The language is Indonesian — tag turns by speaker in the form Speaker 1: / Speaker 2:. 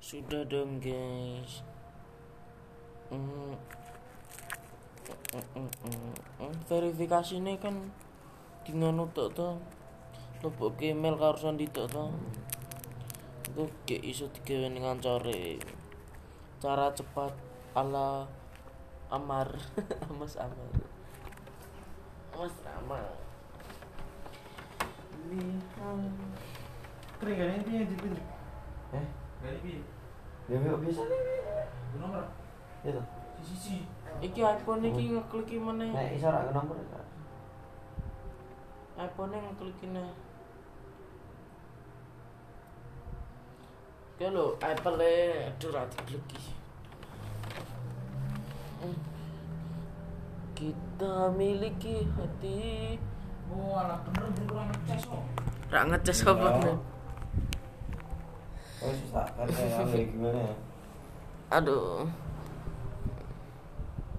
Speaker 1: Sudah dong guys. Hmm. Hmm, hmm, hmm, hmm. Verifikasi ini kan dengan utak tuh lebok email karo sandi tok to. Engko gek iso digawe ning ancore. Cara cepat ala Amar, Mas Amar. Mas Amar. Lihat.
Speaker 2: Keren kan ini yang ditunjuk.
Speaker 3: Eh,
Speaker 2: Gak ini ah,
Speaker 3: ya yuk bisa
Speaker 2: nomor
Speaker 3: ya toh.
Speaker 2: sisi si.
Speaker 1: Iki iPhone iki ngeklik meneh.
Speaker 3: Nek iso ra ke nomor ya.
Speaker 1: iPhone yang klikin aja Oke lo, Apple nya aduh rati kliki Kita miliki hati
Speaker 2: Oh, anak bener berkurang ngecas kok.
Speaker 1: Rak ngecas apa nih?
Speaker 3: Oh, susah kan kayak gimana ya.
Speaker 1: Aduh